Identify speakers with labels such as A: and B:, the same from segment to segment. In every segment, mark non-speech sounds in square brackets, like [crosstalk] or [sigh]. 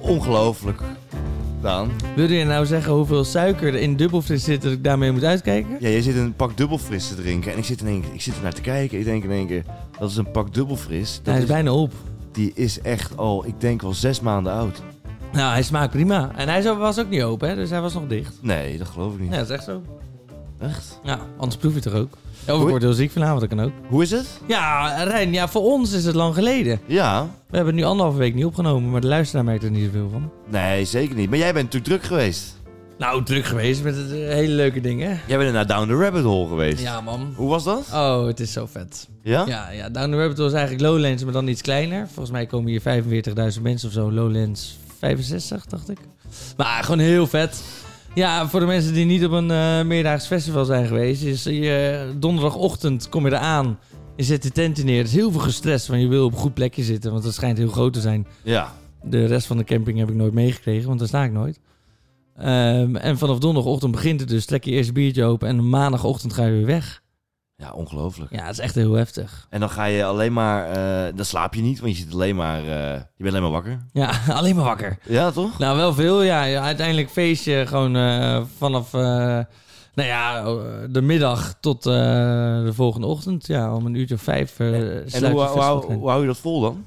A: Ongelooflijk. Daan.
B: Wil je nou zeggen hoeveel suiker er in dubbelfris zit dat ik daarmee moet uitkijken? Nou,
A: Ja, jij zit een pak dubbelfris te drinken. En ik zit, in één, ik zit er naar te kijken. Ik denk in één keer, dat is een pak dubbelfris. Dat
B: hij is,
A: is-
B: bijna op.
A: Die is echt al, ik denk wel zes maanden oud.
B: Nou, hij smaakt prima. En hij zo- was ook niet open, hè? dus hij was nog dicht.
A: Nee, dat geloof ik niet.
B: Ja, dat is echt zo.
A: Echt?
B: Ja, anders proef je het er ook. Ja, Of ik
A: Hoe-
B: word heel ziek vanavond, dat kan ook.
A: Hoe is het?
B: Ja, Rijn, ja, voor ons is het lang geleden.
A: Ja.
B: We hebben het nu anderhalve week niet opgenomen, maar de luisteraar merkt er niet zoveel van.
A: Nee, zeker niet. Maar jij bent natuurlijk druk geweest.
B: Nou, druk geweest met het, eh, hele leuke dingen.
A: Jij bent naar Down the Rabbit Hole geweest.
B: Ja, man.
A: Hoe was dat?
B: Oh, het is zo vet.
A: Ja?
B: Ja, ja, Down the Rabbit Hole is dus eigenlijk Lowlands, maar dan iets kleiner. Volgens mij komen hier 45.000 mensen of zo. Lowlands 65, dacht ik. Maar gewoon heel vet. Ja, voor de mensen die niet op een eh, meerdaags festival zijn geweest. Is je, donderdagochtend kom je eraan. Je zet de tent neer. Het is heel veel gestrest, want je wil op een goed plekje zitten. Want het schijnt heel groot te zijn.
A: Ja.
B: De rest van de camping heb ik nooit meegekregen, want daar sta ik nooit. Ehm, en vanaf donderdagochtend begint het dus. Trek je eerst een biertje open en maandagochtend ga je weer weg.
A: Ja, ongelooflijk.
B: Ja, het is echt heel heftig.
A: En dan ga je alleen maar, eh, dan slaap je niet, want je zit alleen maar, eh, je bent alleen maar wakker.
B: Ja, [laughs] alleen maar wakker.
A: Ja, toch?
B: Nou, wel veel, ja. Ja, Uiteindelijk feestje gewoon eh, vanaf, eh, nou ja, eh, de middag tot eh, de volgende ochtend. Ja, om een uurtje of vijf eh, sluit
A: en hoe,
B: het
A: hoe,
B: festival
A: hoe-
B: in.
A: hoe hou je dat vol dan?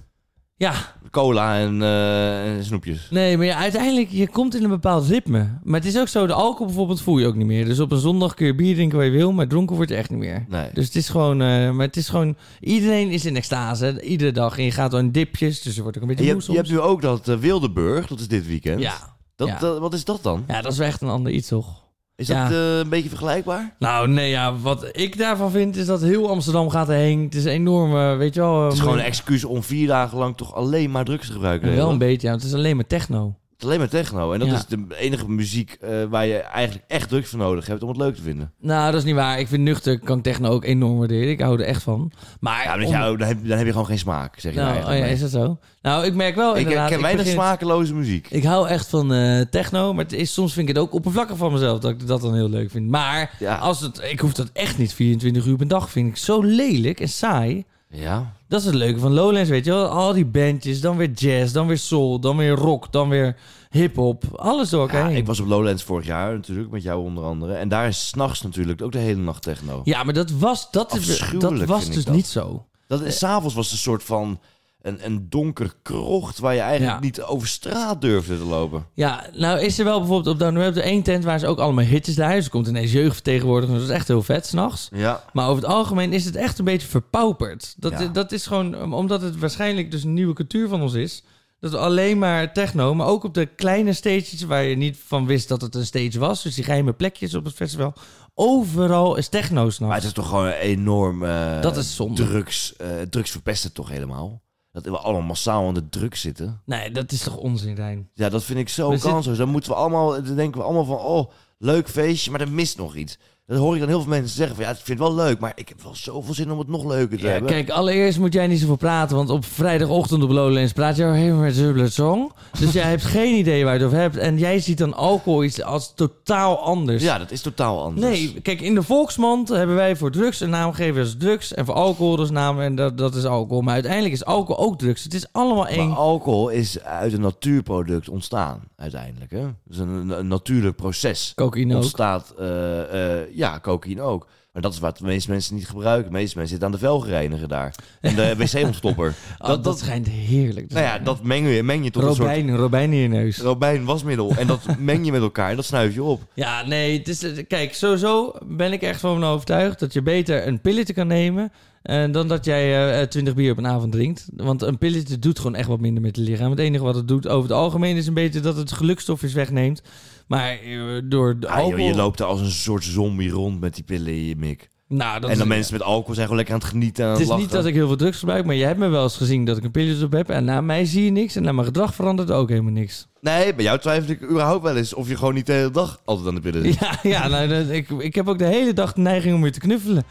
B: Ja,
A: Cola en, eh, en snoepjes.
B: nee, maar ja, uiteindelijk, je komt in een bepaald ritme. Maar het is ook zo, de alcohol bijvoorbeeld voel je ook niet meer. Dus op een zondag kun je bier drinken waar je wil, maar dronken wordt je echt niet meer.
A: Nee.
B: Dus het is gewoon, eh, maar het is gewoon, iedereen is in extase, iedere dag. En je gaat dan in dipjes, dus er wordt ook een
A: En je,
B: beetje moe
A: hebt, je
B: soms.
A: hebt nu ook dat eh, Wildeburg, dat is dit weekend.
B: Ja.
A: Dat,
B: ja.
A: dat- wat is dat dan?
B: ja, dat is wel echt een ander iets, toch?
A: Is
B: Ja.
A: dat eh, een beetje vergelijkbaar?
B: Nou, nee, ja, wat ik daarvan vind is dat heel Amsterdam gaat erheen. Het is een enorme, weet je wel... eh,
A: Het is gewoon eh, een excuus om vier dagen lang toch alleen maar drugs te gebruiken. de hele
B: Wel
A: dag.
B: een beetje, ja, want het is alleen maar techno.
A: Het is alleen maar techno. En dat
B: Ja.
A: is de enige muziek eh, waar je eigenlijk echt drugs voor nodig hebt om het leuk te vinden.
B: Nou, dat is niet waar. Ik vind nuchter kan ik techno ook enorm waarderen. Ik hou er echt van. Maar...
A: Ja, maar
B: om-
A: jou, dan, heb, dan heb je gewoon geen smaak, zeg je nou
B: nou, oh ja,
A: eigenlijk.
B: is dat zo? Nou, ik merk wel
A: ik, ik
B: inderdaad...
A: ken weinig
B: begin-
A: smakeloze muziek.
B: Ik hou echt van eh, techno, maar het is, soms vind ik het ook oppervlakkig van mezelf dat ik dat dan heel leuk vind. Maar
A: Ja.
B: als het, ik hoef dat echt niet 24 uur per dag, vind ik zo lelijk en saai.
A: Ja.
B: Dat is het leuke van Lowlands, weet je wel. Al die bandjes, dan weer jazz, dan weer soul, dan weer rock, dan weer hip-hop. Alles door elkaar
A: Ja,
B: heen.
A: ik was op Lowlands vorig jaar natuurlijk, met jou onder andere. En daar is s'nachts natuurlijk ook de hele nacht techno.
B: Ja, maar dat was, dat is,
A: Afschuwelijk
B: dat was
A: vind ik
B: dus
A: dat.
B: niet zo.
A: Dat is s'avonds was het een soort van een, een donker krocht waar je eigenlijk
B: Ja.
A: niet over straat durfde te lopen.
B: Ja, nou is er wel bijvoorbeeld op Down the Rabbit één tent waar ze ook allemaal hitjes daar. Dus er komt ineens jeugdvertegenwoordigers, dat is echt heel vet s'nachts.
A: Ja.
B: Maar over het algemeen is het echt een beetje verpauperd. Dat,
A: Ja.
B: dat is gewoon um, omdat het waarschijnlijk dus een nieuwe cultuur van ons is. Dat we alleen maar techno, maar ook op de kleine stages waar je niet van wist dat het een stage was. Dus die geheime plekjes op het festival. Overal is techno
A: Maar
B: s'nachts.
A: het is toch gewoon een enorm eh,
B: Dat is zonde.
A: drugs. eh drugs verpest het toch helemaal? Dat we allemaal massaal aan de drugs zitten.
B: Nee, dat is toch onzin, Rijn?
A: Ja, dat vind ik zo
B: We zitten-
A: kansloos. Dan moeten we allemaal, dan denken we allemaal van, oh, leuk feestje, maar er mist nog iets. Dat hoor ik dan heel veel mensen zeggen van, ja, ik vind het wel leuk, maar ik heb wel zoveel zin om het nog leuker te
B: Ja,
A: hebben.
B: Eh, kijk, allereerst moet jij niet zoveel praten, want op vrijdagochtend op Lowlands praat jij helemaal met Zublet Song. Dus jij hebt geen idee waar je het over hebt. En jij ziet dan alcohol iets als totaal anders.
A: Ja, dat is totaal anders.
B: dus- Nee, kijk, in de volksmond hebben wij voor drugs een naam gegeven als drugs. En voor alcohol dus naam en dat, dat is alcohol. Maar uiteindelijk is alcohol ook drugs. Het is allemaal één.
A: Maar alcohol is uit een natuurproduct ontstaan, uiteindelijk. Hè? Dat is een, een natuurlijk proces.
B: Cocaïne ook.
A: Ontstaat, eh, eh, ja, cocaïne ook. Maar dat is wat de meeste mensen niet gebruiken. De meeste mensen zitten aan de velgereiniger daar. En de
B: [laughs]
A: wc-ontstopper.
B: Oh, dat, dat schijnt heerlijk te
A: nou ja,
B: zijn.
A: dat meng je, meng je tot een soort
B: Robijn, Robijn in je neus.
A: robijn wasmiddel. En dat
B: [laughs]
A: meng je met elkaar en dat snuif je op. Ah,
B: Ja, nee, het is, eh, kijk, sowieso ben ik echt van overtuigd dat je beter een pilletje kan nemen eh, dan dat jij twintig bier op een avond drinkt. Want een pilletje doet gewoon echt wat minder met het lichaam. Het enige wat het doet over het algemeen is een beetje dat het gelukstofjes wegneemt. Maar eh, door de
A: Ah, joh,
B: alcohol...
A: je loopt er als een soort zombie rond met die pillen in je mik.
B: nou, dat
A: en dan
B: is,
A: mensen met alcohol zijn gewoon lekker aan het genieten. en Aan
B: Het
A: het,
B: is niet
A: lachen.
B: dat ik heel veel drugs gebruik, maar jij hebt me wel eens gezien dat ik een pilletje op heb. En na mij zie je niks en na mijn gedrag verandert ook helemaal niks.
A: Nee, bij jou twijfel ik überhaupt wel eens of je gewoon niet de hele dag altijd aan de pillen zit.
B: [laughs] Ja, ja nou, dat- ik, ik heb ook de hele dag de neiging om je te knuffelen.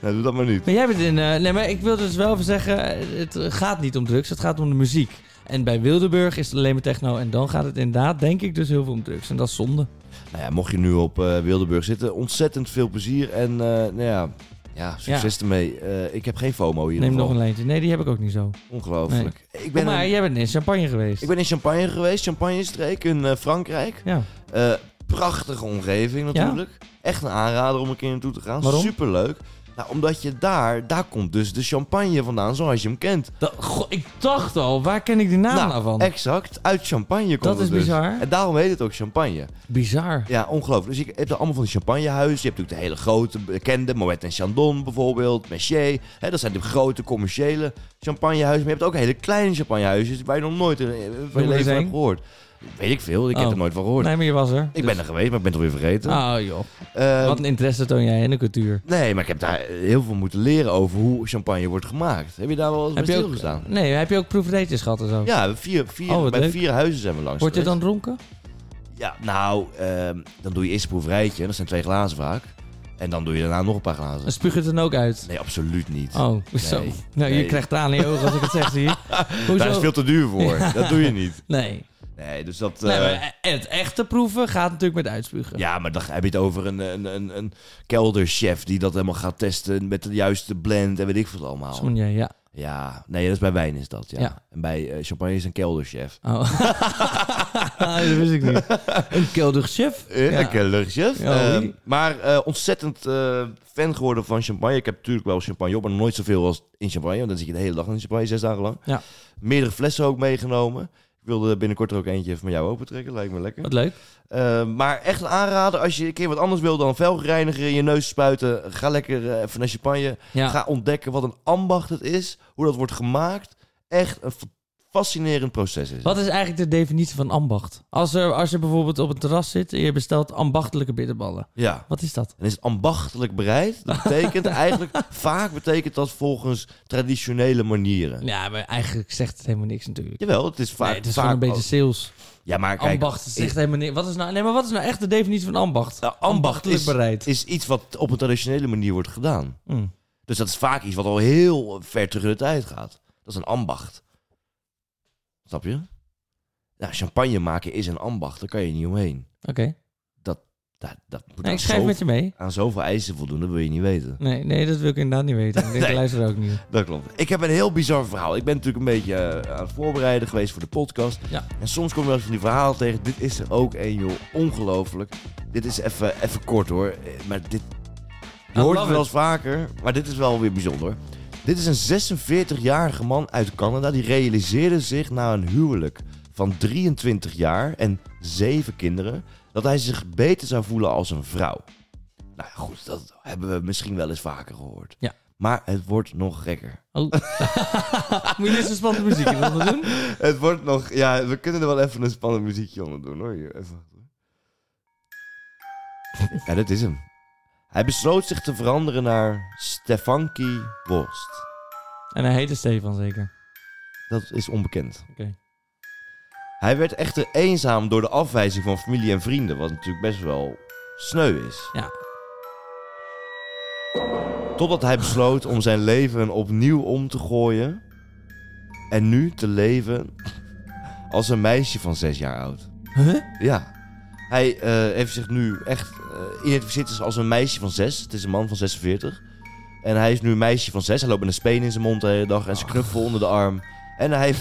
A: Nou, doe dat maar niet.
B: Maar jij bent in. eh, nee, maar ik wil dus wel even zeggen: het gaat niet om drugs, het gaat om de muziek. En bij Wildeburg is het alleen maar techno. En dan gaat het inderdaad, denk ik, dus heel veel om drugs. En dat is zonde.
A: Nou ja, mocht je nu op eh, Wildeburg zitten, ontzettend veel plezier. En eh, nou ja, Ja, succes ermee. Eh, ik heb geen FOMO hier.
B: Neem nog een lijntje. Nee, die heb ik ook niet zo.
A: Ongelooflijk. Ik
B: Oh,
A: ben
B: maar
A: een-
B: jij bent in Champagne geweest.
A: Ik ben in Champagne geweest, Champagne-streek in eh, Frankrijk.
B: Ja.
A: Eh, prachtige omgeving natuurlijk. Echt een aanrader om een keer naartoe te gaan.
B: Waarom?
A: Superleuk. Nou, omdat je daar, daar komt dus de champagne vandaan zoals je hem kent.
B: Dat, goh, ik dacht al, waar ken ik die naam nou,
A: Nou,
B: van?
A: Exact, uit champagne komt
B: Dat
A: het
B: is
A: dus.
B: bizar.
A: En daarom heet het ook champagne.
B: Bizar.
A: Ja, ongelooflijk. Dus je hebt er allemaal van die champagnehuizen. Je hebt natuurlijk de hele grote bekende, Moet en Chandon bijvoorbeeld, Mercier. Hè, dat zijn de grote commerciële champagnehuizen. Maar je hebt ook hele kleine champagnehuizen waar je nog nooit in eh, van je
B: er
A: leven
B: zijn?
A: hebt gehoord. Weet ik veel, ik heb
B: Oh.
A: er nooit van gehoord.
B: Nee, maar je was er.
A: Ik
B: Dus-
A: ben er geweest, maar ik ben het alweer vergeten.
B: Oh joh,
A: Eh,
B: wat een interesse toon jij in de cultuur.
A: Nee, maar ik heb daar heel veel moeten leren over hoe champagne wordt gemaakt. Heb je daar wel eens bij
B: Heb je ook,
A: stilgestaan?
B: nee, heb je ook proefdeetjes gehad en zo?
A: Ja, vier, vier,
B: Oh, wat
A: bij
B: leuk.
A: vier huizen zijn we langs
B: Word je dan
A: geweest.
B: dronken?
A: Ja, nou, ehm, dan doe je eerst een proeverijtje. Dat zijn twee glazen vaak. En dan doe je daarna nog een paar glazen.
B: Dan spuug je het dan ook uit.
A: Nee, absoluut niet.
B: Oh, zo.
A: Nee.
B: Nou,
A: Nee.
B: je krijgt tranen in je ogen als ik het zeg, [laughs] zie je?
A: daar is
B: Hoezo?
A: veel te duur voor. Dat doe je niet.
B: Nee.
A: Nee, dus dat...
B: nee
A: eh,
B: maar het echte proeven gaat natuurlijk met uitspugen.
A: Ja, maar dan heb je het over een, een, een, een kelderchef die dat helemaal gaat testen met de juiste blend en weet ik veel allemaal.
B: Zo'n Oh. ja, ja.
A: Ja, nee, dat is bij wijn is dat, ja.
B: Ja.
A: En bij eh, champagne is een kelderchef.
B: Oh. [laughs] dat wist ik niet. Een kelder chef.
A: Eh,
B: Ja.
A: Een kelderchef.
B: Ja,
A: Ehm,
B: oui.
A: maar eh, ontzettend eh, fan geworden van champagne. Ik heb natuurlijk wel champagne op, maar nog nooit zoveel als in champagne. Want dan zit je de hele dag in champagne, zes dagen lang.
B: Ja.
A: Meerdere flessen ook meegenomen. Ik wilde binnenkort er ook eentje even met jou opentrekken, lijkt me lekker.
B: Wat leuk.
A: Eh, maar echt een aanrader, als je een keer wat anders wil dan velgereiniger in je neus spuiten, ga lekker eh, even naar champagne.
B: Ja.
A: Ga ontdekken wat een ambacht het is, hoe dat wordt gemaakt. Echt een fa- fascinerend proces is.
B: Wat is eigenlijk de definitie van ambacht? Als, er, als je bijvoorbeeld op een terras zit en je bestelt ambachtelijke bitterballen.
A: Ja.
B: Wat is dat?
A: En is het ambachtelijk bereid?
B: [laughs]
A: Dat betekent eigenlijk, vaak betekent dat volgens traditionele manieren.
B: Ja, maar eigenlijk zegt het helemaal niks natuurlijk.
A: Jawel, het is vaak.
B: nee, het is
A: vaak
B: gewoon een beetje sales.
A: Ja, maar kijk.
B: ambacht
A: is-
B: zegt helemaal niks. Wat is nou, nee, maar wat is nou echt de definitie van ambacht?
A: nou, ambacht
B: Ambachtelijk
A: is,
B: bereid.
A: is iets wat op een traditionele manier wordt gedaan.
B: Hm.
A: Dus dat is vaak iets wat al heel ver terug in de tijd gaat. Dat is een ambacht. Snap je? Nou, champagne maken is een ambacht. Daar kan je niet omheen.
B: Oké.
A: Dat, dat moet
B: Nee,
A: aan,
B: ik schrijf
A: zoveel,
B: met je mee.
A: aan zoveel eisen voldoen, dat wil je niet weten.
B: Nee, nee, dat wil ik inderdaad niet weten. Ik denk
A: Nee.
B: de luisteraar ook [laughs] niet.
A: Dat klopt. Ik heb een heel bizar verhaal. Ik ben natuurlijk een beetje eh, aan het voorbereiden geweest voor de podcast.
B: Ja.
A: En soms kom je wel eens van die verhaal tegen. Dit is er ook één, joh. Ongelooflijk. Dit is even even kort, hoor. Eh, Maar dit... Je
B: I
A: hoort
B: love
A: het wel
B: it.
A: eens vaker, maar dit is wel weer bijzonder. Dit is een 46-jarige man uit Canada. Die realiseerde zich na een huwelijk van 23 jaar en 7 kinderen... dat hij zich beter zou voelen als een vrouw. Nou ja, goed, dat hebben we misschien wel eens vaker gehoord.
B: Ja.
A: Maar het wordt nog gekker.
B: Oh. Moet je eerst een spannende muziek in handen
A: [laughs]
B: doen?
A: Het wordt nog... Ja, we kunnen er wel even een spannend muziekje onder doen, hoor. Hier, even. Ja, dat is hem. Hij besloot zich te veranderen naar Stefanki Wolst.
B: En hij heette Stefan zeker.
A: Dat is onbekend.
B: Oké.
A: Hij werd echter eenzaam door de afwijzing van familie en vrienden, wat natuurlijk best wel sneu is.
B: Ja.
A: Totdat hij besloot om zijn leven opnieuw om te gooien en nu te leven als een meisje van zes jaar oud.
B: Huh?
A: Ja. Hij eh, heeft zich nu echt eh identificeerd als- als een meisje van zes. Het is een man van 46. En hij is nu een meisje van zes. Hij loopt met een speen in zijn mond de hele dag en zijn
B: Oh.
A: knuffel onder de arm. En hij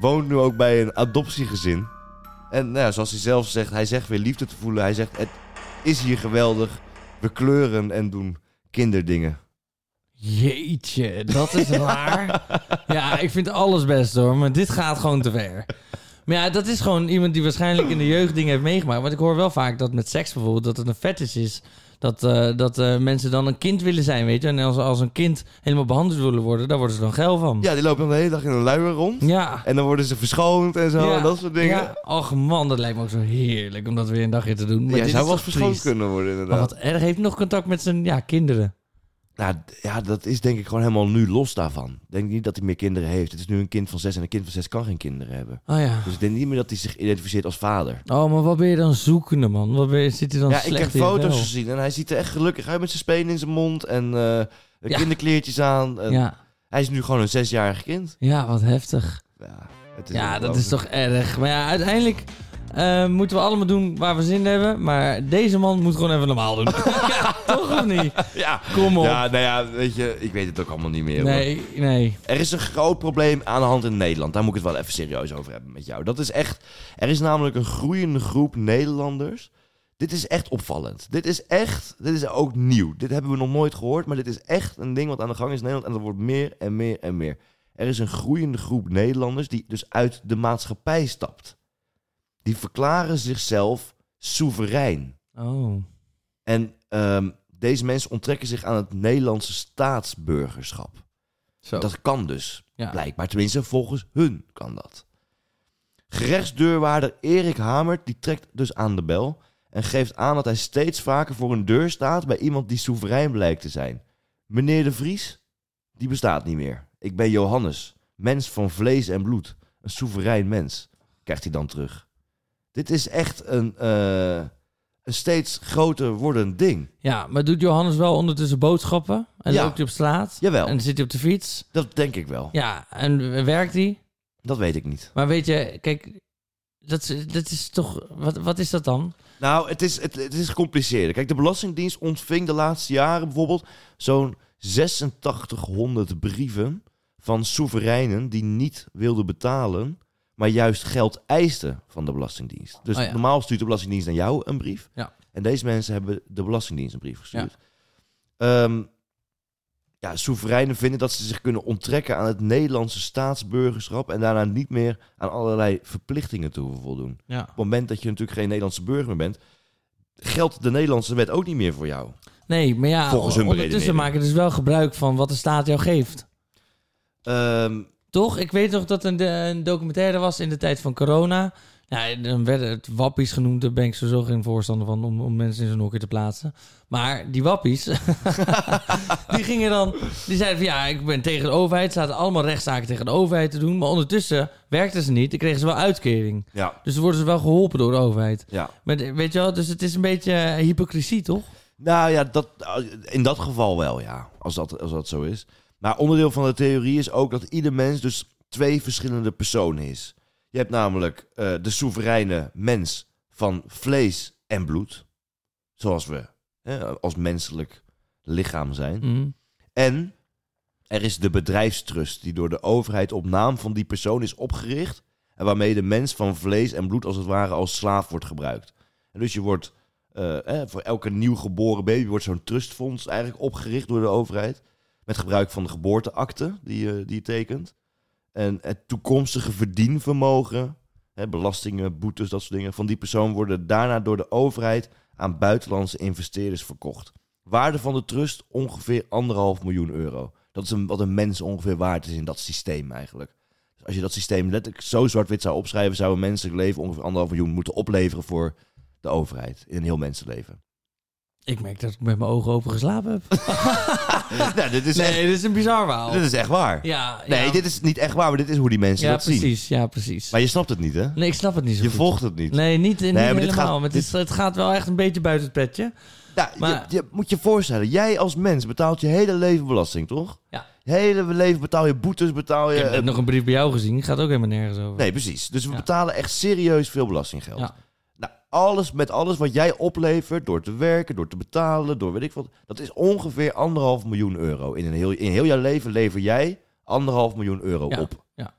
A: woont nu ook bij een adoptiegezin. En nou, ja, zoals hij zelf zegt, hij zegt weer liefde te voelen. Hij zegt, het is hier geweldig. We kleuren en doen kinderdingen.
B: Jeetje, dat is
A: [laughs]
B: raar. Ja, ik vind alles best hoor, maar dit gaat gewoon te ver. Maar ja, dat is gewoon iemand die waarschijnlijk in de jeugd dingen heeft meegemaakt. Want ik hoor wel vaak dat met seks bijvoorbeeld, dat het een fetish is. Dat, eh, dat eh, mensen dan een kind willen zijn, weet je. En als, als een kind helemaal behandeld willen worden, daar worden ze dan geil van.
A: Ja, die lopen dan de hele dag in een luier rond.
B: Ja.
A: En dan worden ze verschoond en zo
B: Ja.
A: en dat soort dingen.
B: Ja. Och man, dat lijkt me ook zo heerlijk om dat weer een dagje te doen. Maar
A: Jij
B: dit
A: zou
B: is
A: wel
B: toch
A: verschoond
B: triest?
A: kunnen worden inderdaad.
B: Maar wat erg, heeft nog contact met zijn ja, kinderen.
A: Nou d- ja, dat is denk ik gewoon helemaal nu los daarvan. Ik denk niet dat hij meer kinderen heeft. Het is nu een kind van zes en een kind van zes kan geen kinderen hebben.
B: Oh ja.
A: Dus ik denk niet meer dat hij zich identificeert als vader.
B: Oh, maar wat ben je dan zoekende, man? Wat ben je, zit hij dan
A: ja, ik
B: slecht
A: heb
B: in je
A: foto's
B: vel?
A: gezien en hij ziet er echt gelukkig uit met zijn spenen in zijn mond en eh,
B: Ja.
A: kinderkleertjes aan. En
B: Ja.
A: Hij is nu gewoon een zesjarig kind.
B: Ja, wat heftig.
A: Ja, het
B: ja, dat
A: ongelooflijk.
B: is toch erg. Maar ja, uiteindelijk, Eh, moeten we allemaal doen waar we zin in hebben. Maar deze man moet gewoon even normaal
A: [laughs]
B: doen. [laughs] Ja, toch of niet?
A: Ja.
B: Kom op.
A: Ja, nou ja, weet je, ik weet het ook allemaal niet meer. hoor.
B: nee, nee.
A: Er is een groot probleem aan de hand in Nederland. Daar moet ik het wel even serieus over hebben met jou. Dat is echt. Er is namelijk een groeiende groep Nederlanders. Dit is echt opvallend. Dit is echt. Dit is ook nieuw. Dit hebben we nog nooit gehoord. Maar dit is echt een ding wat aan de gang is in Nederland. En dat wordt meer en meer en meer. Er is een groeiende groep Nederlanders die dus uit de maatschappij stapt. Die verklaren zichzelf soeverein.
B: Oh.
A: En ehm, deze mensen onttrekken zich aan het Nederlandse staatsburgerschap.
B: Zo.
A: Dat kan dus,
B: Ja.
A: blijkbaar. Tenminste, volgens hun kan dat. Gerechtsdeurwaarder Erik Hamert die trekt dus aan de bel... en geeft aan dat hij steeds vaker voor een deur staat... bij iemand die soeverein blijkt te zijn. Meneer de Vries, die bestaat niet meer. Ik ben Johannes, mens van vlees en bloed. Een soeverein mens, krijgt hij dan terug. Dit is echt een, eh, een steeds groter wordend ding.
B: Ja, maar doet Johannes wel ondertussen boodschappen? En
A: Ja.
B: loopt hij op straat?
A: Jawel.
B: En zit hij op de fiets?
A: Dat denk ik wel.
B: Ja, en werkt hij?
A: Dat weet ik niet.
B: Maar weet je, kijk, dat, is- dat is toch... Wat, wat is dat dan?
A: Nou, het is, het, het is gecompliceerder. Kijk, de Belastingdienst ontving de laatste jaren bijvoorbeeld zo'n 8600 brieven van soevereinen die niet wilden betalen, maar juist geld eisten van de Belastingdienst. Dus
B: Oh ja.
A: normaal stuurt de Belastingdienst aan jou een brief.
B: Ja.
A: En deze mensen hebben de Belastingdienst een brief gestuurd. Ja. ja, soevereinen vinden dat ze zich kunnen onttrekken aan het Nederlandse staatsburgerschap en daarna niet meer aan allerlei verplichtingen te hoeven voldoen
B: Ja.
A: op het moment dat je natuurlijk geen Nederlandse burger meer bent, geldt de Nederlandse wet ook niet meer voor jou.
B: Nee, maar ja,
A: Volgens hun
B: ondertussen
A: beredenering.
B: maken dus wel gebruik van wat de staat jou geeft.
A: Ehm,
B: Toch? Ik weet nog dat er een, een documentaire was in de tijd van corona. Ja, dan werden het wappies genoemd. Daar ben ik sowieso geen voorstander van om, om mensen in zo'n hokje te plaatsen. Maar die wappies, [laughs] die gingen dan... Die zeiden van ja, ik ben tegen de overheid. Ze hadden allemaal rechtszaken tegen de overheid te doen. Maar ondertussen werkten ze niet. Dan kregen ze wel uitkering.
A: ja.
B: Dus dan worden ze wel geholpen door de overheid.
A: ja.
B: Maar de- weet je wel, dus het is een beetje eh, hypocrisie, toch?
A: Nou ja, dat, in dat geval wel, ja. Als dat, als dat zo is. Maar onderdeel van de theorie is ook dat ieder mens dus twee verschillende personen is. Je hebt namelijk eh, de soevereine mens van vlees en bloed. Zoals we hè, als menselijk lichaam zijn.
B: Mhm.
A: En er is de bedrijfstrust die door de overheid op naam van die persoon is opgericht. En waarmee de mens van vlees en bloed als het ware als slaaf wordt gebruikt. En dus je wordt eh, eh, voor elke nieuw geboren baby wordt zo'n trustfonds eigenlijk opgericht door de overheid. Met gebruik van de geboorteakte die, je- die je tekent. En het toekomstige verdienvermogen, hè, belastingen, boetes, dat soort dingen, van die persoon worden daarna door de overheid aan buitenlandse investeerders verkocht. Waarde van de trust ongeveer anderhalf miljoen euro. Dat is een, wat een mens ongeveer waard is in dat systeem eigenlijk. Dus als je dat systeem letterlijk zo zwart-wit zou opschrijven, zou een menselijk leven ongeveer anderhalf miljoen moeten opleveren voor de overheid in een heel
B: [laughs]
A: mensenleven.
B: Ik merk dat ik met mijn ogen open geslapen heb.
A: nou, dit is,
B: Nee, dit is een bizar verhaal.
A: echt, dit is echt waar.
B: Ja,
A: Nee,
B: ja.
A: dit is niet echt waar, maar dit is hoe die mensen
B: ja,
A: dat zien.
B: precies, Ja, precies.
A: Maar je snapt het niet, hè?
B: Nee, ik snap het niet zo
A: Je
B: goed.
A: volgt het niet.
B: Nee, niet, niet
A: maar dit Eh,
B: helemaal.
A: gaat-
B: maar het, is, het gaat wel echt een beetje buiten het petje.
A: Ja,
B: Maar-
A: Nou, je, je moet je voorstellen, jij als mens betaalt je hele leven belasting, toch?
B: Ja.
A: Je hele leven betaal je boetes, betaal
B: Ik
A: je... eh,
B: heb net nog een brief bij jou gezien. Gaat ook helemaal nergens over.
A: Nee, precies. Dus we
B: Ja.
A: betalen echt serieus veel belastinggeld.
B: Ja.
A: Nou, alles met alles wat jij oplevert door te werken, door te betalen, door weet ik wat. Dat is ongeveer anderhalf miljoen euro. In een heel, in heel jouw leven lever jij anderhalf miljoen euro
B: Ja,
A: op.
B: ja.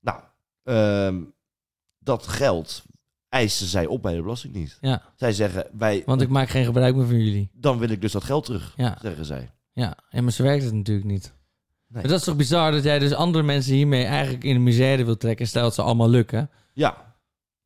A: Nou, ehm, dat geld eisen zij op bij de Belastingdienst.
B: Ja,
A: Zij zeggen, wij,
B: want ik maak geen gebruik meer van jullie.
A: dan wil ik dus dat geld terug,
B: Ja,
A: zeggen zij.
B: ja. En maar ze werkt het natuurlijk niet.
A: Nee.
B: Maar dat is toch bizar dat jij dus andere mensen hiermee eigenlijk in de misère wil trekken. Stel dat ze allemaal lukken.
A: Ja.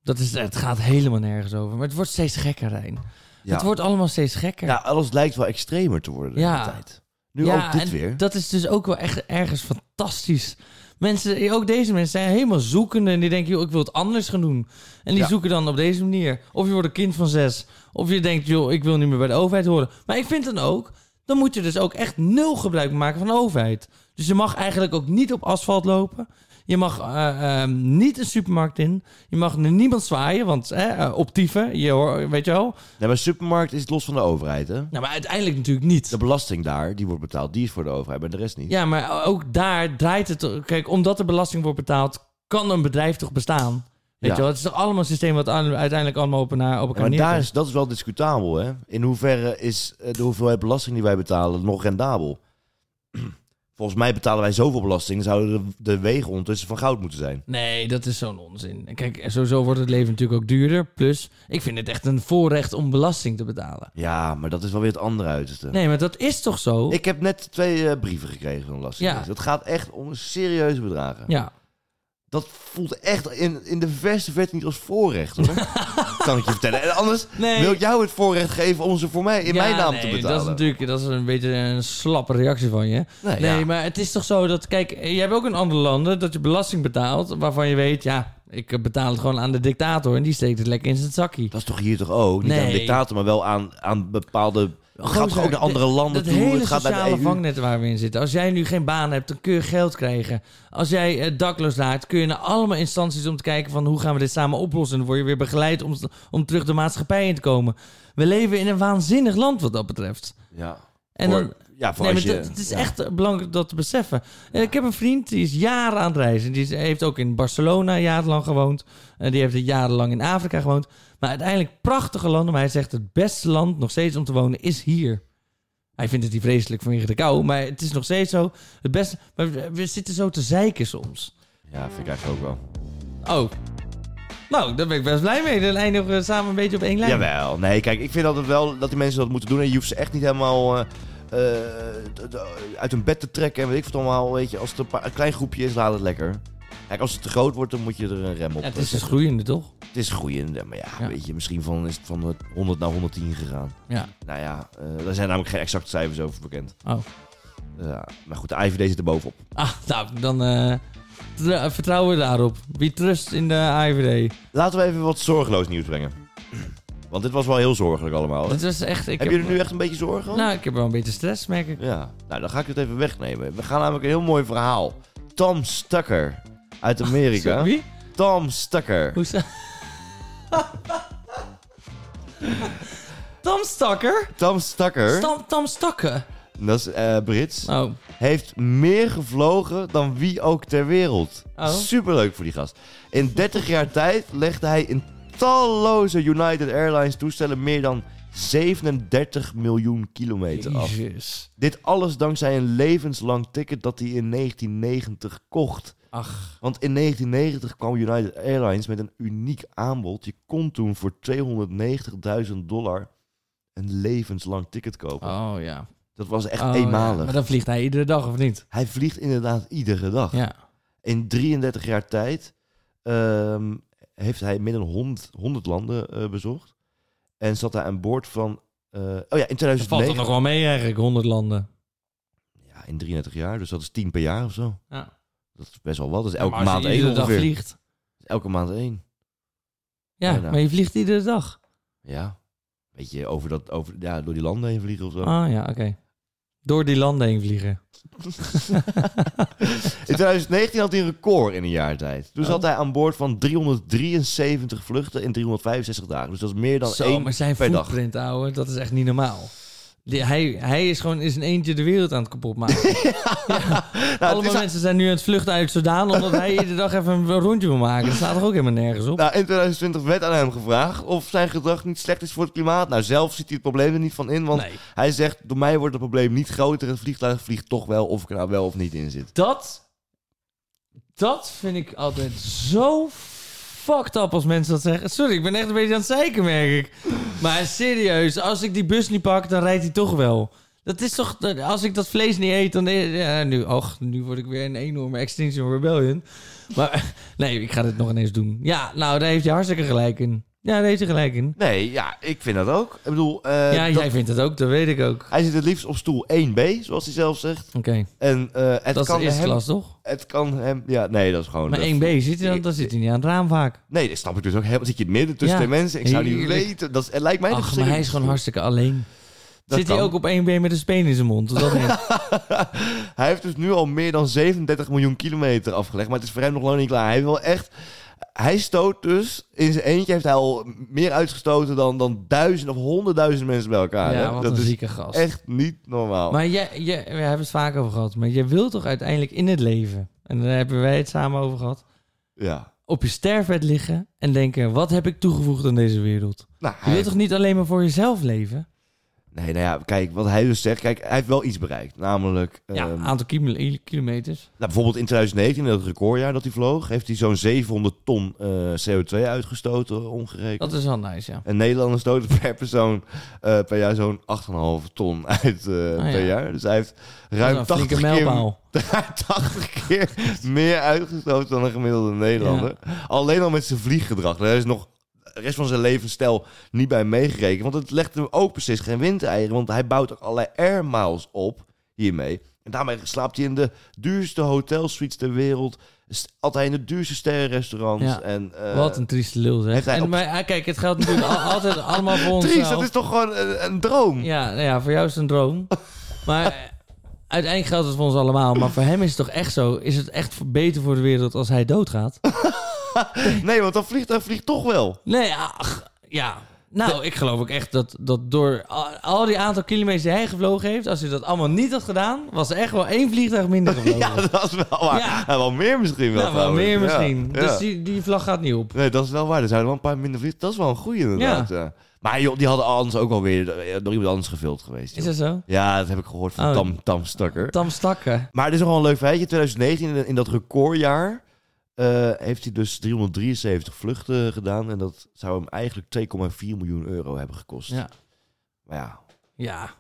B: Dat is, het gaat helemaal nergens over. Maar het wordt steeds gekker, Rijn.
A: ja.
B: Het wordt allemaal steeds gekker.
A: ja, alles lijkt wel extremer te worden
B: Ja.
A: de hele tijd. Nu
B: ja,
A: ook dit
B: en
A: weer.
B: Dat is dus ook wel echt ergens fantastisch. Mensen, ook deze mensen zijn helemaal zoekende en die denken, joh, ik wil het anders gaan doen. En die
A: Ja.
B: zoeken dan op deze manier. Of je wordt een kind van zes. Of je denkt, joh, ik wil niet meer bij de overheid horen. Maar ik vind dan ook, dan moet je dus ook echt nul gebruik maken van de overheid. Dus je mag eigenlijk ook niet op asfalt lopen. Je mag eh, eh, niet een supermarkt in. Je mag naar niemand zwaaien, want hè, eh, optieven, je hoor, weet je wel.
A: Nee, maar supermarkt is los van de overheid, hè?
B: Nou, maar uiteindelijk natuurlijk niet.
A: De belasting daar, die wordt betaald, die is voor de overheid, maar de rest niet.
B: Ja, maar ook daar draait het. Kijk, omdat er belasting wordt betaald, kan een bedrijf toch bestaan? Weet
A: Ja.
B: je wel, het is toch allemaal een systeem wat aan- uiteindelijk allemaal op, elkaar- op
A: Ja,
B: elkaar
A: maar daar
B: neerkomt.
A: is, dat is wel discutabel, hè? In hoeverre is eh, de hoeveelheid belasting die wij betalen nog rendabel? [clears throat] Volgens mij betalen wij zoveel belasting, zouden de, de wegen ondertussen van goud moeten zijn.
B: Nee, dat is zo'n onzin. En Kijk, sowieso wordt het leven natuurlijk ook duurder. Plus, ik vind het echt een voorrecht om belasting te betalen.
A: Ja, maar dat is wel weer het andere uiterste.
B: Nee, maar dat is toch zo?
A: Ik heb net twee eh, brieven gekregen van de Belastingdienst.
B: Ja.
A: Het gaat echt om serieuze bedragen.
B: Ja.
A: Dat voelt echt in, in de verste verte niet als voorrecht,
B: [laughs]
A: hoor. kan ik je vertellen. En anders
B: Nee.
A: wil ik jou het voorrecht geven om ze voor mij in
B: Ja,
A: mijn naam
B: nee,
A: te betalen.
B: Dat is natuurlijk dat is een beetje een slappe reactie van je.
A: Nou ja.
B: Nee, maar het is toch zo dat, kijk, je hebt ook in andere landen dat je belasting betaalt waarvan je weet, ja, ik betaal het gewoon aan de dictator en die steekt het lekker in zijn zakkie.
A: Dat is toch hier toch ook? Niet aan
B: Nee.
A: de dictator, maar wel aan, aan bepaalde... Het gaat toch ook naar andere
B: de-
A: landen
B: dat
A: toe?
B: hele
A: Het gaat naar de E
B: sociale
A: EU.
B: vangnet waar we in zitten. Als jij nu geen baan hebt, dan kun je geld krijgen. Als jij eh, dakloos raakt, kun je naar allemaal instanties om te kijken van hoe gaan we dit samen oplossen. Dan word je weer begeleid om, om terug de maatschappij in te komen. We leven in een waanzinnig land wat dat betreft.
A: Ja,
B: En
A: voor,
B: dan,
A: ja, voor
B: Nee, maar
A: als je...
B: dat- het is
A: ja.
B: echt belangrijk dat te beseffen. Eh, Ik heb een vriend die is jaren aan het reizen. Die is- heeft ook in Barcelona jarenlang gewoond. Eh, die heeft jarenlang in Afrika gewoond. Maar uiteindelijk prachtige landen. Maar hij zegt het beste land nog steeds om te wonen is hier. Hij vindt het hier vreselijk vanwege de kou. Maar het is nog steeds zo. Het beste, maar we- we zitten zo te zeiken soms.
A: Ja, vind ik eigenlijk ook wel.
B: Oh. Nou, daar ben ik best blij mee. Dan eindigen we samen een beetje op één lijn.
A: Jawel. Nee, kijk, ik vind altijd wel dat die mensen dat moeten doen. En je hoeft ze echt niet helemaal eh, eh, d- d- uit hun bed te trekken. En weet ik wat allemaal. Weet je, als het een, paar- een klein groepje is, laat het lekker. Kijk, als het te groot wordt, dan moet je er een rem op
B: Ja,
A: eh,
B: het is dus
A: zetten.
B: groeiende, toch?
A: Het is groeiend. Maar ja,
B: Ja.
A: weet je, misschien van, is het van eh, 100 naar 110 gegaan.
B: Ja.
A: Nou ja, eh, daar zijn namelijk geen exacte cijfers over bekend.
B: Oh.
A: Ja, maar goed, de IVD zit er bovenop.
B: Ah, nou, dan eh, tr- vertrouwen we daarop. Wie trust in de AIVD.
A: Laten we even wat zorgeloos nieuws brengen. Want dit was wel heel zorgelijk allemaal. hè?
B: Dit was echt... Ik
A: Hebben jullie nu echt een beetje zorgen? om?
B: Nou, ik heb wel een beetje stress, merk ik.
A: Ja, nou dan ga ik het even wegnemen. We gaan namelijk een heel mooi verhaal. Tom Stucker uit Amerika.
B: [laughs] Wie?
A: Tom Stucker.
B: Hoe sta... Tom Stakker?
A: Tom Stucker,
B: Stam, Tom Stakken.
A: dat is eh, Brits,
B: Oh,
A: heeft meer gevlogen dan wie ook ter wereld.
B: Oh.
A: Superleuk voor die gast. In 30 jaar tijd legde hij in talloze United Airlines toestellen meer dan 37 miljoen kilometer af.
B: jezus.
A: Dit alles dankzij een levenslang ticket dat hij in 1990 kocht.
B: Ach,
A: Want in 1990 kwam United Airlines met een uniek aanbod. Je kon toen voor 290.000 dollar een levenslang ticket kopen.
B: oh ja.
A: Dat was echt
B: Oh,
A: eenmalig.
B: ja. Maar dan vliegt hij iedere dag, of niet?
A: Hij vliegt inderdaad iedere dag.
B: Ja.
A: In 33 jaar tijd ehm, heeft hij meer dan 100, 100 landen eh, bezocht. En zat hij aan boord van... eh, oh ja, in
B: Dat valt er
A: 2009.
B: nog wel mee eigenlijk, 100 landen.
A: Ja, in 33 jaar. Dus dat is 10 per jaar of zo.
B: Ja.
A: Dat is best wel wat. Dat is
B: Maar
A: elke
B: als je
A: maand één
B: iedere dag
A: ongeveer.
B: vliegt.
A: Elke maand één.
B: Ja,
A: Bijna.
B: maar je vliegt iedere dag.
A: Ja. Weet je, over dat, over, ja, door die landen heen vliegen of zo.
B: Ah ja, oké. Door die landen heen vliegen.
A: In 2019 had hij een record in een jaar tijd. Toen
B: Oh.
A: zat hij aan boord van 373 vluchten in 365 dagen. Dus dat is meer dan
B: Zo,
A: één [laughs]
B: maar zijn
A: per dag.
B: footprint, ouwe, dat is echt niet normaal. Die, hij, hij is gewoon in zijn eentje de wereld aan het
A: [laughs]
B: kapotmaken.
A: Nou, het
B: Allemaal
A: is-
B: mensen zijn nu aan het vluchten uit Soudaan... omdat hij iedere dag even een rondje wil maken. Dat staat toch ook helemaal nergens op?
A: nou, in 2020 werd aan hem gevraagd of zijn gedrag niet slecht is voor het klimaat. Nou, zelf ziet hij het probleem er niet van in, want
B: Nee.
A: hij zegt... door mij wordt het probleem niet groter. Het vliegtuig vliegt toch wel of ik er nou wel of niet in zit.
B: Dat, dat vind ik altijd zo fucked up als mensen dat zeggen. Sorry, ik ben echt een beetje aan het zeiken, merk ik. Maar serieus, als ik die bus niet pak, dan rijdt hij toch wel. Dat is toch, als ik dat vlees niet eet, dan... Ja, nu, och, nu word ik weer een enorme Extinction Rebellion. Maar [laughs] nee, ik ga dit nog ineens doen. Ja, nou, daar heeft hij hartstikke gelijk in. Ja, daar heeft hij gelijk in.
A: Nee, ja, ik vind dat ook. Ik bedoel, eh,
B: ja,
A: dat-
B: jij vindt het ook, dat weet ik ook.
A: hij zit het liefst op stoel 1B, zoals hij zelf zegt.
B: Oké,
A: En eh, het
B: dat is
A: kan
B: de eerste
A: hem
B: klas, toch?
A: Het kan hem... Ja, nee, dat is gewoon...
B: Maar
A: dat-
B: 1B, zit hij dan, dan zit hij niet aan het raam vaak.
A: Nee, dat snap ik dus ook helemaal. Zit je in het midden tussen
B: Ja.
A: twee mensen? Ik zou niet
B: Heerlijk.
A: weten. Dat is- het lijkt mij... dus
B: Ach, maar hij is gewoon
A: hartstikke.
B: hartstikke alleen. Zit hij ook op één been met een speen in zijn mond?
A: [laughs]
B: Of dat niet?
A: [laughs] Hij heeft dus nu al meer dan 37 miljoen kilometer afgelegd. Maar het is voor hem nog lang niet klaar. Hij wil echt... Hij stoot dus... In zijn eentje heeft hij al meer uitgestoten dan, dan duizend of honderdduizend mensen bij elkaar.
B: ja,
A: hè?
B: wat
A: dat
B: een
A: is
B: zieke gast.
A: echt niet normaal.
B: Maar jij, jij, we hebben het vaak over gehad. Maar je wilt toch uiteindelijk in het leven... en daar hebben wij het samen over gehad...
A: Ja.
B: op je sterfbed liggen en denken: wat heb ik toegevoegd aan deze wereld?
A: Nou,
B: Je
A: hij-
B: wilt toch niet alleen maar voor jezelf leven?
A: Nee, nou ja, kijk, wat hij dus zegt. Kijk, hij heeft wel iets bereikt. Namelijk,
B: ja, ah.
A: ehm,
B: een aantal kilo- kilometers.
A: nou, bijvoorbeeld in 2019, in dat recordjaar dat hij vloog, heeft hij zo'n 700 ton eh, CO2 uitgestoten, omgerekend.
B: Dat is wel nice, ja.
A: En Nederlanders stoten per persoon eh, per jaar zo'n 8,5 ton uit eh,
B: Ah, ja.
A: per jaar. Dus hij heeft
B: Dat is
A: ruim
B: een flinke
A: 80 keer,
B: mijlpaal.
A: [laughs] 80 keer meer uitgestoten dan een gemiddelde Nederlander. Alleen al met zijn vlieggedrag. Daar is nog de rest van zijn levensstijl niet bij meegerekend. Want het legt hem ook precies geen windeieren. Want hij bouwt ook allerlei air miles op hiermee. En daarmee slaapt hij in de duurste hotelsuites ter wereld. St- Altijd in de duurste sterrenrestaurants.
B: Ja.
A: En, eh,
B: Wat een trieste lul, zeg.
A: heeft hij
B: En,
A: op-
B: maar, ah, kijk, het geldt natuurlijk al- altijd allemaal voor
A: [laughs]
B: ons.
A: Dries, dat is toch gewoon een, een droom?
B: Ja, nou ja, voor jou is het een droom. Maar eh, uiteindelijk geldt het voor ons allemaal. Maar voor hem is het toch echt zo? Is het echt voor- beter voor de wereld als hij doodgaat?
A: Nee, want dat vliegtuig vliegt toch wel.
B: Nee, ach, ja. Nou, ik geloof ook echt dat, dat door al- al die aantal kilometers die hij gevlogen heeft... als hij dat allemaal niet had gedaan, was er echt wel één
A: [laughs]
B: vliegtuig minder gevlogen.
A: Ja, dat is wel waar.
B: Ja.
A: En wel meer misschien wel
B: nou, wel
A: trouwens.
B: meer
A: Ja,
B: misschien.
A: ja.
B: Dus die, die vlag gaat niet op.
A: Nee, dat is wel waar. Er zijn wel een paar minder vliegtuigen. Dat is wel een goeie inderdaad. ja. Maar joh, die hadden anders ook wel weer eh, door iemand anders gevuld geweest.
B: Is
A: joh.
B: dat zo?
A: Ja, dat heb ik gehoord van
B: Oh.
A: Tam, Tam Stakker.
B: Tam Stakken.
A: Maar het is nogal een leuk feitje. 2019, in, in dat recordjaar, eh, heeft hij dus 373 vluchten gedaan. En dat zou hem eigenlijk 2,4 miljoen euro hebben gekost.
B: Ja.
A: Maar ja,
B: Ja,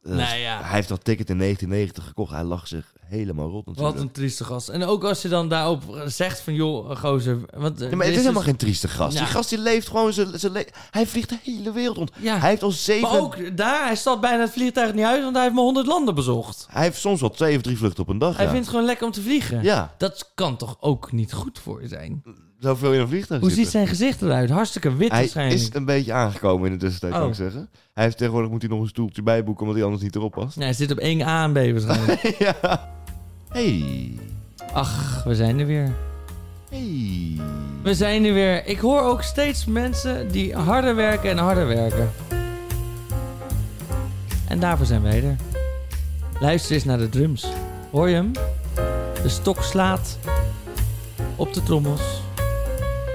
A: dat is-
B: nou ja.
A: hij heeft dat ticket in 1990 gekocht. Hij lag zich helemaal rot natuurlijk.
B: Wat een trieste gast. En ook als je dan daarop zegt van, joh, gozer... Want, eh,
A: Ja, maar het
B: dit
A: is helemaal geen trieste gast.
B: Ja.
A: Die gast die leeft gewoon zijn... zijn le- hij vliegt de hele wereld rond.
B: Ja.
A: Hij heeft al
B: Maar
A: zeven...
B: ook daar, hij stapt bijna het vliegtuig niet uit, want hij heeft maar 100 landen bezocht.
A: Hij heeft soms wel twee of drie vluchten op een dag.
B: Hij
A: ja.
B: vindt het gewoon lekker om te vliegen.
A: ja,
B: Dat kan toch ook niet goed voor je zijn?
A: zoveel in een vliegtuig
B: Hoe ziet
A: zitten.
B: zijn gezicht eruit? Hartstikke wit
A: hij
B: waarschijnlijk.
A: is een beetje aangekomen in de tussentijd,
B: Oh.
A: kan ik zeggen. Hij heeft tegenwoordig moet hij nog een stoeltje bijboeken, omdat hij anders niet erop past.
B: Nee, hij zit op 1 A en B
A: [laughs]
B: waarschijnlijk.
A: ja. Hey.
B: Ach, we zijn er weer.
A: Hey.
B: We zijn er weer. Ik hoor ook steeds mensen die harder werken en harder werken. En daarvoor zijn wij er. Luister eens naar de drums. Hoor je hem? De stok slaat op de trommels.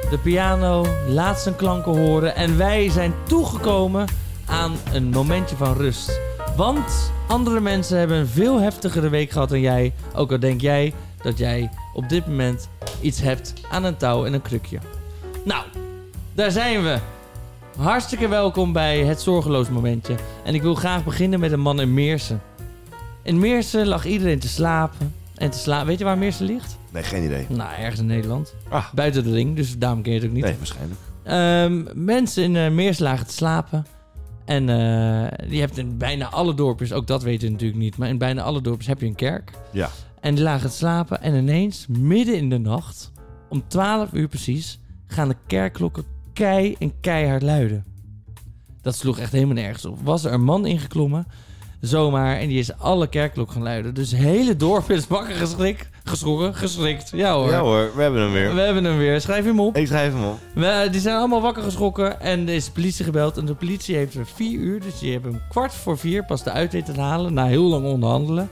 B: De piano laat zijn klanken horen. En wij zijn toegekomen aan een momentje van rust. Want andere mensen hebben een veel heftigere week gehad dan jij. Ook al denk jij dat jij op dit moment iets hebt aan een touw en een krukje. Nou, daar zijn we. Hartstikke welkom bij het zorgeloos momentje. En ik wil graag beginnen met een man in Meersen. In Meersen lag iedereen te slapen. En te slapen. Weet je waar Meersen ligt?
A: Nee, geen idee.
B: Nou, ergens in Nederland.
A: Ah.
B: Buiten de ring, dus daarom ken je het ook niet.
A: Nee, waarschijnlijk.
B: Ehm, mensen in eh Meersen lagen te slapen. En eh, je hebt in bijna alle dorpjes, ook dat weten we natuurlijk niet, maar in bijna alle dorpjes heb je een kerk.
A: Ja.
B: En die lagen te slapen en ineens, midden in de nacht, om 12 uur precies, gaan de kerkklokken kei en keihard luiden. Dat sloeg echt helemaal nergens op. Was er een man ingeklommen, zomaar, en die is alle kerkklokken gaan luiden. Dus het hele dorp is wakker geschrikt, geschrokken, geschrikt. Ja hoor.
A: Ja hoor, we hebben hem weer.
B: We hebben hem weer. Schrijf hem op.
A: Ik schrijf hem op.
B: We, die zijn allemaal wakker geschrokken en er is de politie gebeld. En de politie heeft er vier uur, dus die hebben hem kwart voor vier pas de uiteten te halen. Na heel lang onderhandelen.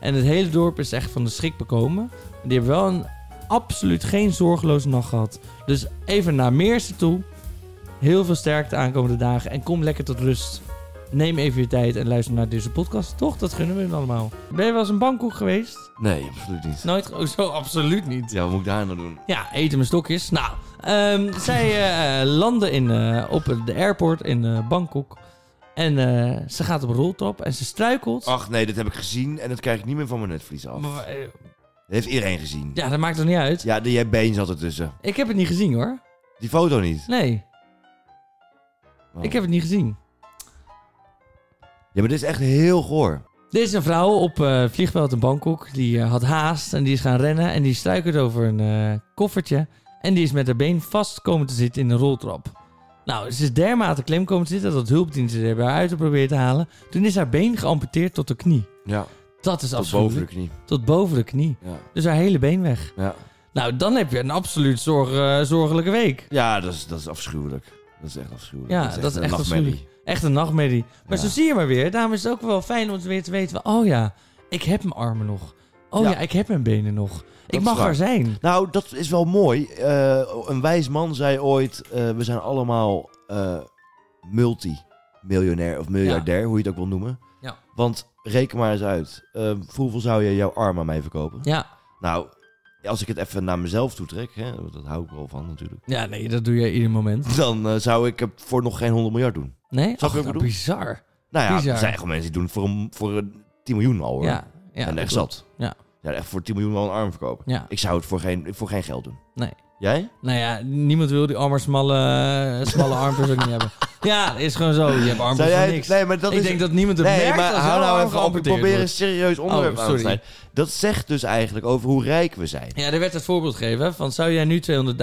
B: En het hele dorp is echt van de schrik bekomen. En die hebben wel een absoluut geen zorgeloze nacht gehad. Dus even naar Meersen toe. Heel veel sterkte aankomende dagen en kom lekker tot rust. Neem even je tijd en luister naar deze podcast. Toch, dat gunnen we hun allemaal. Ben je wel eens in Bangkok geweest?
A: Nee, absoluut niet.
B: Nooit? ge- [laughs] Oh, zo absoluut niet.
A: Ja, wat moet ik daar nou doen?
B: Ja, eten mijn stokjes. Nou, ehm, zij eh, eh, landen in, eh, op de airport in eh, Bangkok. En eh, ze gaat op een roltrap en ze struikelt.
A: Ach nee, dat heb ik gezien en dat krijg ik niet meer van mijn netvlies af. Dat
B: Maar, eh,
A: heeft iedereen gezien.
B: Ja, dat maakt toch niet uit?
A: Ja, die been zat ertussen.
B: Ik heb het niet gezien hoor.
A: Die foto niet.
B: Nee,
A: Oh.
B: ik heb het niet gezien.
A: Ja, maar dit is echt heel goor.
B: Dit is een vrouw op eh, vliegveld in Bangkok. Die eh, had haast en die is gaan rennen. En die struikelt over een eh, koffertje. En die is met haar been vast komen te zitten in een roltrap. Nou, ze is dermate klem komen te zitten dat hulpdiensten er hebben haar uit te proberen te halen. Toen is haar been geamputeerd tot de knie.
A: Ja,
B: Dat is
A: tot
B: absoluut.
A: boven de knie.
B: Tot boven de knie.
A: Ja.
B: Dus haar hele been weg.
A: Ja,
B: Nou, dan heb je een absoluut zorg, eh, zorgelijke week.
A: ja dat, is, dat is afschuwelijk. Dat is echt afschuwelijk.
B: Ja, dat is
A: een
B: echt
A: nachtmerrie.
B: afschuwelijk. Echt een nachtmerrie. Maar
A: Ja.
B: zo zie je maar weer. Daarom is het ook wel fijn om weer te weten... van, Oh ja, ik heb mijn armen nog. Oh
A: Ja.
B: ja, ik heb mijn benen nog. ik
A: is
B: mag
A: waar.
B: er zijn.
A: Nou, dat is wel mooi. Eh, een wijs man zei ooit: eh, we zijn allemaal eh multi-miljonair of miljardair, hoe je het ook wil noemen.
B: Ja.
A: Want reken maar eens uit. eh, voor hoeveel zou je jouw arm aan mij verkopen?
B: Ja.
A: Nou, als ik het even naar mezelf toetrek, hè, want dat hou ik wel van natuurlijk.
B: ja, nee, dat doe je ieder moment.
A: Dan eh, zou ik het voor nog geen 100 miljard doen.
B: Nee?
A: wat ik
B: nou,
A: bedoel?
B: bizar.
A: Nou ja,
B: Bizar.
A: er zijn gewoon mensen die doen het voor, een, voor een 10 miljoen al hoor.
B: Ja, ja.
A: en
B: dat
A: echt
B: klopt.
A: zat.
B: Ja.
A: ja, echt voor 10 miljoen wel een arm verkopen.
B: Ja.
A: Ik zou het voor geen, voor geen geld doen.
B: Nee.
A: Jij?
B: Nou ja, niemand wil die armer smalle,
A: [laughs]
B: smalle armpjes ook niet hebben. Ja, is gewoon zo. Je hebt armpjes
A: Zou
B: voor
A: jij,
B: niks.
A: Nee, maar dat
B: ik
A: is,
B: denk dat niemand het
A: nee,
B: merkt
A: maar
B: als
A: hou
B: jouw
A: nou
B: arm
A: even op. Ik
B: geamputeerd
A: probeer een
B: wordt. Oh,
A: serieus onderwerp aan te
B: sorry.
A: snijden. Dat zegt dus eigenlijk over hoe rijk we zijn.
B: Ja, er werd het voorbeeld gegeven hè, van zou jij nu 200.000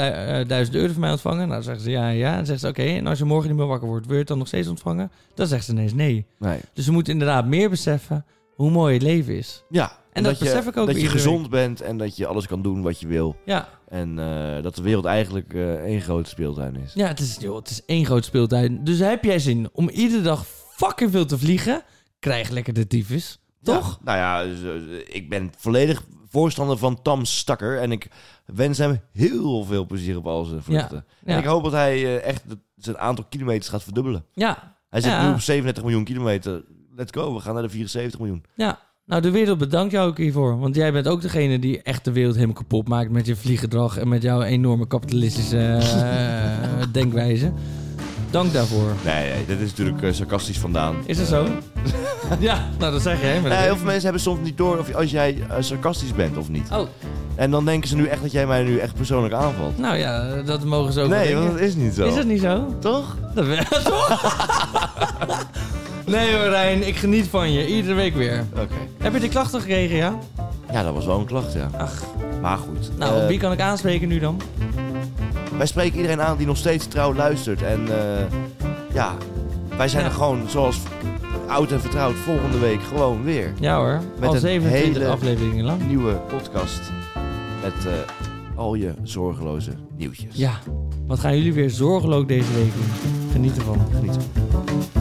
B: euro van mij ontvangen? Nou, dan zeggen ze ja, ja. Dan zegt ze oké, en als je morgen niet meer wakker wordt, wil je het dan nog steeds ontvangen? Dan zegt ze ineens nee.
A: Nee.
B: Dus we moeten inderdaad meer beseffen hoe mooi het leven is.
A: Ja.
B: En dat besef ik ook
A: Dat je
B: iedere
A: gezond bent en dat je alles kan doen wat je wil.
B: Ja,
A: En eh, dat de wereld eigenlijk eh, één grote speeltuin is.
B: ja het, is, joh, het is één groot speeltuin. Dus heb jij zin om iedere dag fucking veel te vliegen? Krijg lekker de tyfus, toch?
A: Ja, nou ja, dus, eh, ik ben volledig voorstander van Tam Stakker. En ik wens hem heel veel plezier op al zijn vluchten.
B: Ja.
A: En ik hoop dat hij eh, echt de- zijn aantal kilometers gaat verdubbelen.
B: Ja,
A: Hij zit
B: Ja.
A: nu op 37 miljoen kilometer. Let's go, we gaan naar de 74 miljoen.
B: ja. Nou, de wereld bedankt jou ook hiervoor. Want jij bent ook degene die echt de wereld helemaal kapot maakt met je vlieggedrag en met jouw enorme kapitalistische eh,
A: [laughs]
B: denkwijze. Dank daarvoor.
A: Nee, nee, dit is natuurlijk eh, sarcastisch vandaan. [laughs]
B: Is dat zo? ja, nou dat zeg je hè. maar dat
A: Ja,
B: weet
A: heel
B: ik.
A: veel mensen hebben soms niet door of je- als jij eh, sarcastisch bent of niet.
B: Oh,
A: En dan denken ze nu echt dat jij mij nu echt persoonlijk aanvalt.
B: nou ja, dat mogen ze ook wel
A: Nee,
B: denken.
A: want dat is niet zo.
B: Is dat niet zo?
A: Toch?
B: Dat wel,
A: [laughs]
B: toch? [laughs] nee hoor Rijn, ik geniet van je. Iedere week weer.
A: Oké.
B: Heb je de klachten gekregen, ja?
A: Ja, dat was wel een klacht, ja.
B: Ach,
A: Maar goed.
B: nou,
A: eh,
B: wie kan ik aanspreken nu dan?
A: Wij spreken iedereen aan die nog steeds trouw luistert. En eh, ja, wij zijn
B: Ja.
A: er gewoon, zoals oud en vertrouwd, volgende week gewoon weer.
B: Ja hoor,
A: Met
B: al
A: een
B: 27
A: hele-
B: afleveringen lang.
A: Een nieuwe podcast met eh, al je zorgeloze nieuwtjes.
B: Ja, wat gaan jullie weer zorgeloos deze week doen? Geniet ervan.
A: Geniet.